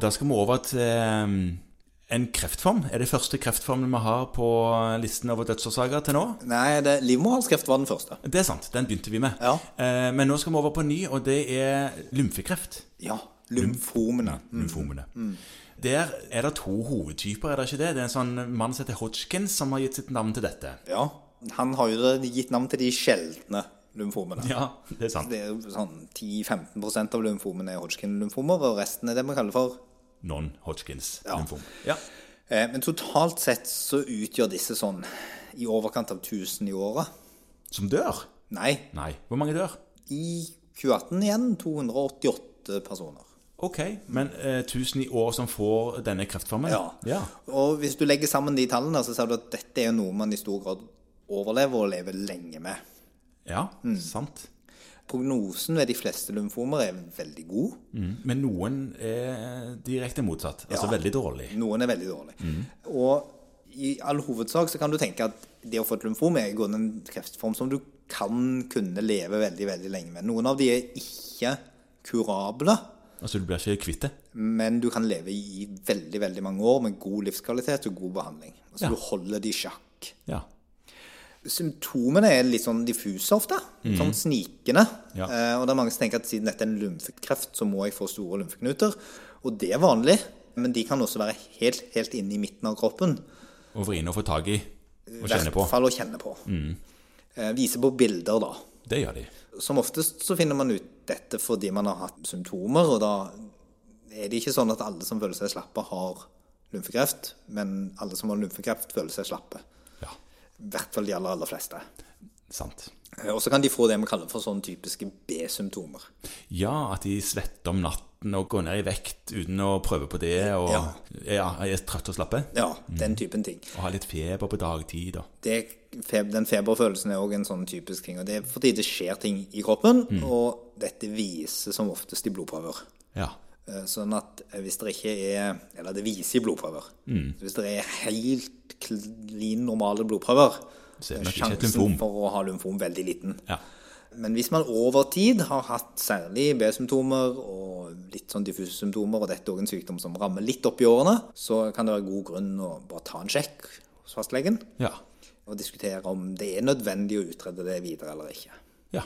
Da skal vi over til eh, en kreftform. Er det første kreftformen vi har på listen over dødsårsaker til nå? Nei, det, livmorhalskreft var den første. Det er sant. Den begynte vi med. Ja. Eh, men nå skal vi over på en ny, og det er lymfekreft. Ja. Lymfomene. Lymfomene. Mm. Der er det to hovedtyper, er det ikke det? Det er en sånn mann som heter Hodgkins, som har gitt sitt navn til dette. Ja. Han har jo det- gitt navn til de sjeldne lymfomene. Ja, det er sant. Det er jo sånn 10-15 av lymfomene er Hodgkin-lymfomer, og resten er det vi kaller for Non-Hodgkins-lymfom. Ja. Eh, Men totalt sett så utgjør disse sånn i overkant av 1000 i året. Som dør? Nei, Nei. Hvor mange dør? i 2018 igjen 288 personer. Ok, men eh, 1000 i år som får denne kreftformen? Ja. ja. Og hvis du legger sammen de tallene, så ser du at dette er jo noe man i stor grad overlever og lever lenge med. Ja, Mm. sant. Prognosen ved de fleste lymfomer er veldig god. Men noen er direkte motsatt. Altså Ja. veldig dårlig. Noen er veldig dårlig. Og i all hovedsak så kan du tenke at det å få et lymfom er i grunnen en kreftform som du kan kunne leve veldig, veldig lenge med. Noen av de er ikke kurable, Altså du blir ikke kvitt det. men du kan leve i veldig, veldig mange år med god livskvalitet og god behandling. Altså Ja. du holder de i sjakk. Ja. Symptomene er litt sånn diffuse ofte, sånn snikende. Mm. Ja. Eh, og det er mange som tenker at siden dette er en lymfekreft, så må jeg få store lymfeknuter. Og det er vanlig, men de kan også være helt, helt inne i midten av kroppen. Å vri inn og få tak i og I kjenne hvert på. Mm. fall å kjenne på. Eh, vise på bilder, da. Det gjør de. Som oftest så finner man ut dette fordi man har hatt symptomer, og da er det ikke sånn at alle som føler seg slappe, har lymfekreft, men alle som har lymfekreft, føler seg slappe. Ja, I hvert fall de aller, aller fleste. sant. Eh, Og så kan de få det vi kaller for sånn typiske B-symptomer. Ja, at de svetter om natten og går ned i vekt uten å prøve på det. Og ja, Ja. jeg er trøtt og slappe. Ja, den Mm. typen ting. Og har litt feber på dagtid. Og. det, feb, den feberfølelsen er òg en sånn typisk ting. Og det er fordi det skjer ting i kroppen, Mm. og dette vises som oftest i blodprøver. Ja. Eh, Sånn at eh, hvis det ikke er Eller det viser i blodprøver. Mm. Så hvis det er helt klin normale blodprøver, Så er er det nok ikke et sjansen lymfom. for å ha lymfom veldig liten. ja. Men hvis man over tid har hatt særlig B-symptomer og litt sånn diffuse symptomer, og dette er også en sykdom som rammer litt opp i årene, så kan det være god grunn å bare ta en sjekk hos fastlegen Ja. og diskutere om det er nødvendig å utrede det videre eller ikke. ja.